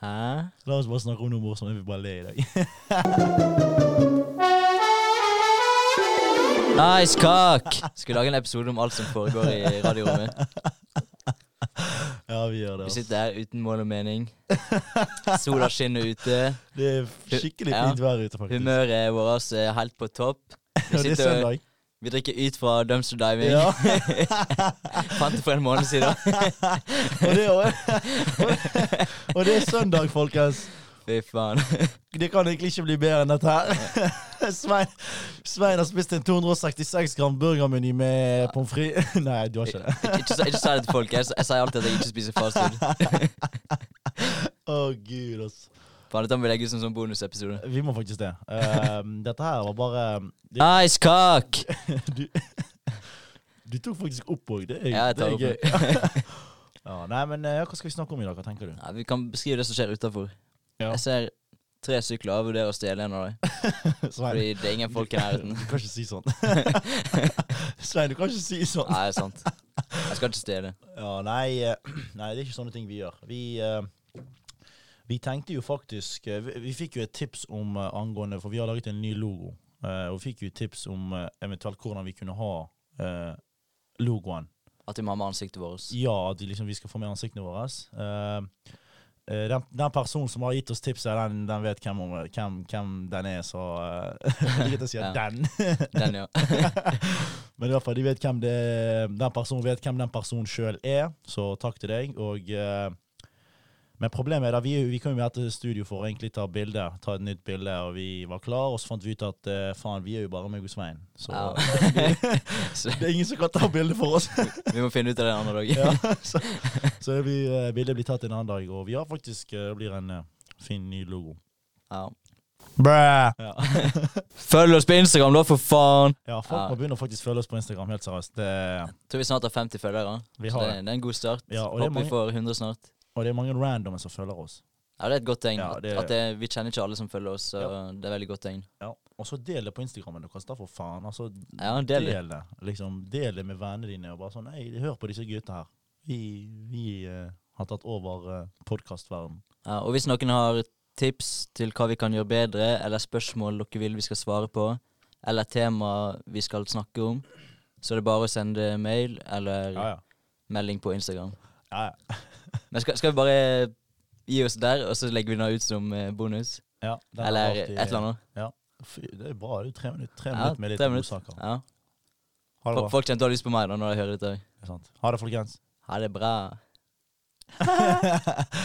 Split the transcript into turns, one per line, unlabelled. Hæ?
La oss bare snakke om noe morsomt. Jeg vil bare le i dag.
Nice cock! Skal vi lage en episode om alt som foregår i radiorommet?
ja, vi gjør det.
Vi
Altså.
sitter her uten mål og mening. Sola skinner ute.
Det er skikkelig
Ja.
fint vær ute, faktisk.
Humøret vårt er helt på topp.
Og det er
sitter-
søndag.
Vi drikker ut fra Dumps and Diving.
Ja.
Fant det for en måned siden.
Og det, er- og det er søndag, folkens.
Fy faen.
Det kan egentlig ikke bli bedre enn dette her. Svein, Svein har spist en 266 gram burgermeny med pommes frites. Nei, du har ikke det.
Ikke, si- ikke si det til folk. Jeg, jeg sier alltid at jeg ikke spiser fast food.
Å, gud, altså.
Faen, Dette må vi legge ut som sånn bonusepisode.
Vi må faktisk det. Ehm, dette her var bare det,
Nice cock!
du, du tok faktisk opp òg. Det, er-
Ja, jeg
det
tar
er
opp.
gøy. Ja, nei, men eh, hva skal vi snakke om i dag? Hva tenker du?
Ja, vi kan beskrive det som skjer utafor.
Ja.
Jeg ser tre sykler og vurderer å stjele en av dem.
Svein,
Fordi det er ingen folk i
du
nærheten.
kan ikke si sånn. Svein, du kan ikke si sånn.
Nei, det er sant. Jeg skal ikke stjele.
Ja, nei, eh, nei, det er ikke sånne ting vi gjør. Vi, eh, vi tenkte jo faktisk eh, Vi, vi fikk jo et tips om eh, angående For vi har laget en ny logo. eh, og vi fikk jo et tips om eh, eventuelt hvordan vi kunne ha eh, logoen.
At de må ha med ansiktet vårt.
Ja, at vi liksom, vi skal få med ansiktene våre. Eh, eh, den, den personen som har gitt oss tipset, den, den vet hvem, hun- hvem, hvem den er, så eh, Jeg liker at jeg sier
Ja.
den.
Den, ja.
Men i hvert fall, de vet hvem det, den personen vet hvem den personen sjøl er, så takk til deg. Og, eh, men problemet er da, vi, er jo- vi kom jo her til studio for å egentlig ta bilde, ta et nytt bilde, og vi var klar, og så fant vi ut at eh, faen, vi er jo bare meg og Svein. Så
Ja. Så
det er ingen som kan ta bilde for oss.
vi må finne ut av det en annen dag.
ja, så så det blir, eh, bildet blir tatt en annen dag, og vi har faktisk eh, det blir en eh, fin ny logo.
Ja.
Bræ! Ja.
Følg oss på Instagram, da, for faen!
ja, folk
Ja.
må begynne å faktisk følge oss på Instagram, helt seriøst. Det,
Tror vi snart har 50 følgere.
vi
Så
har
det,
det.
det er en god start.
Ja, og det er
Håper vi
mange-
får 100 snart.
Og det er mange randomer som følger oss.
Ja, det er et godt tegn.
Ja,
at-
det-
At det, vi kjenner ikke alle som følger oss, så
Ja.
det er veldig godt tegn.
Ja, og så del det på Instagrammen deres, da, for faen. Altså,
Ja,
del
del det.
det. Liksom, del det med vennene dine, og bare sånn Hei, hør på disse gutta her. Vi, vi eh, har tatt over uh, podkastverdenen.
Ja, og hvis noen har tips til hva vi kan gjøre bedre, eller spørsmål dere vil vi skal svare på, eller tema vi skal snakke om, så er det bare å sende mail eller
Ja, ja.
melding på Instagram.
ja, ja.
Men skal, skal vi bare gi oss der, og så legger vi den ut som eh, bonus?
ja den er
eller
alltid-
et eller annet?
Fy, det er bra. Det er jo tre minutter, tre
Ja,
minutter med litt
tre minutter.
godsaker.
Ja.
Ha det
Folk,
bra.
folk kommer til å ha lyst på meg da når de hører dette.
Det er sant. Ha det, folkens.
Ha det bra.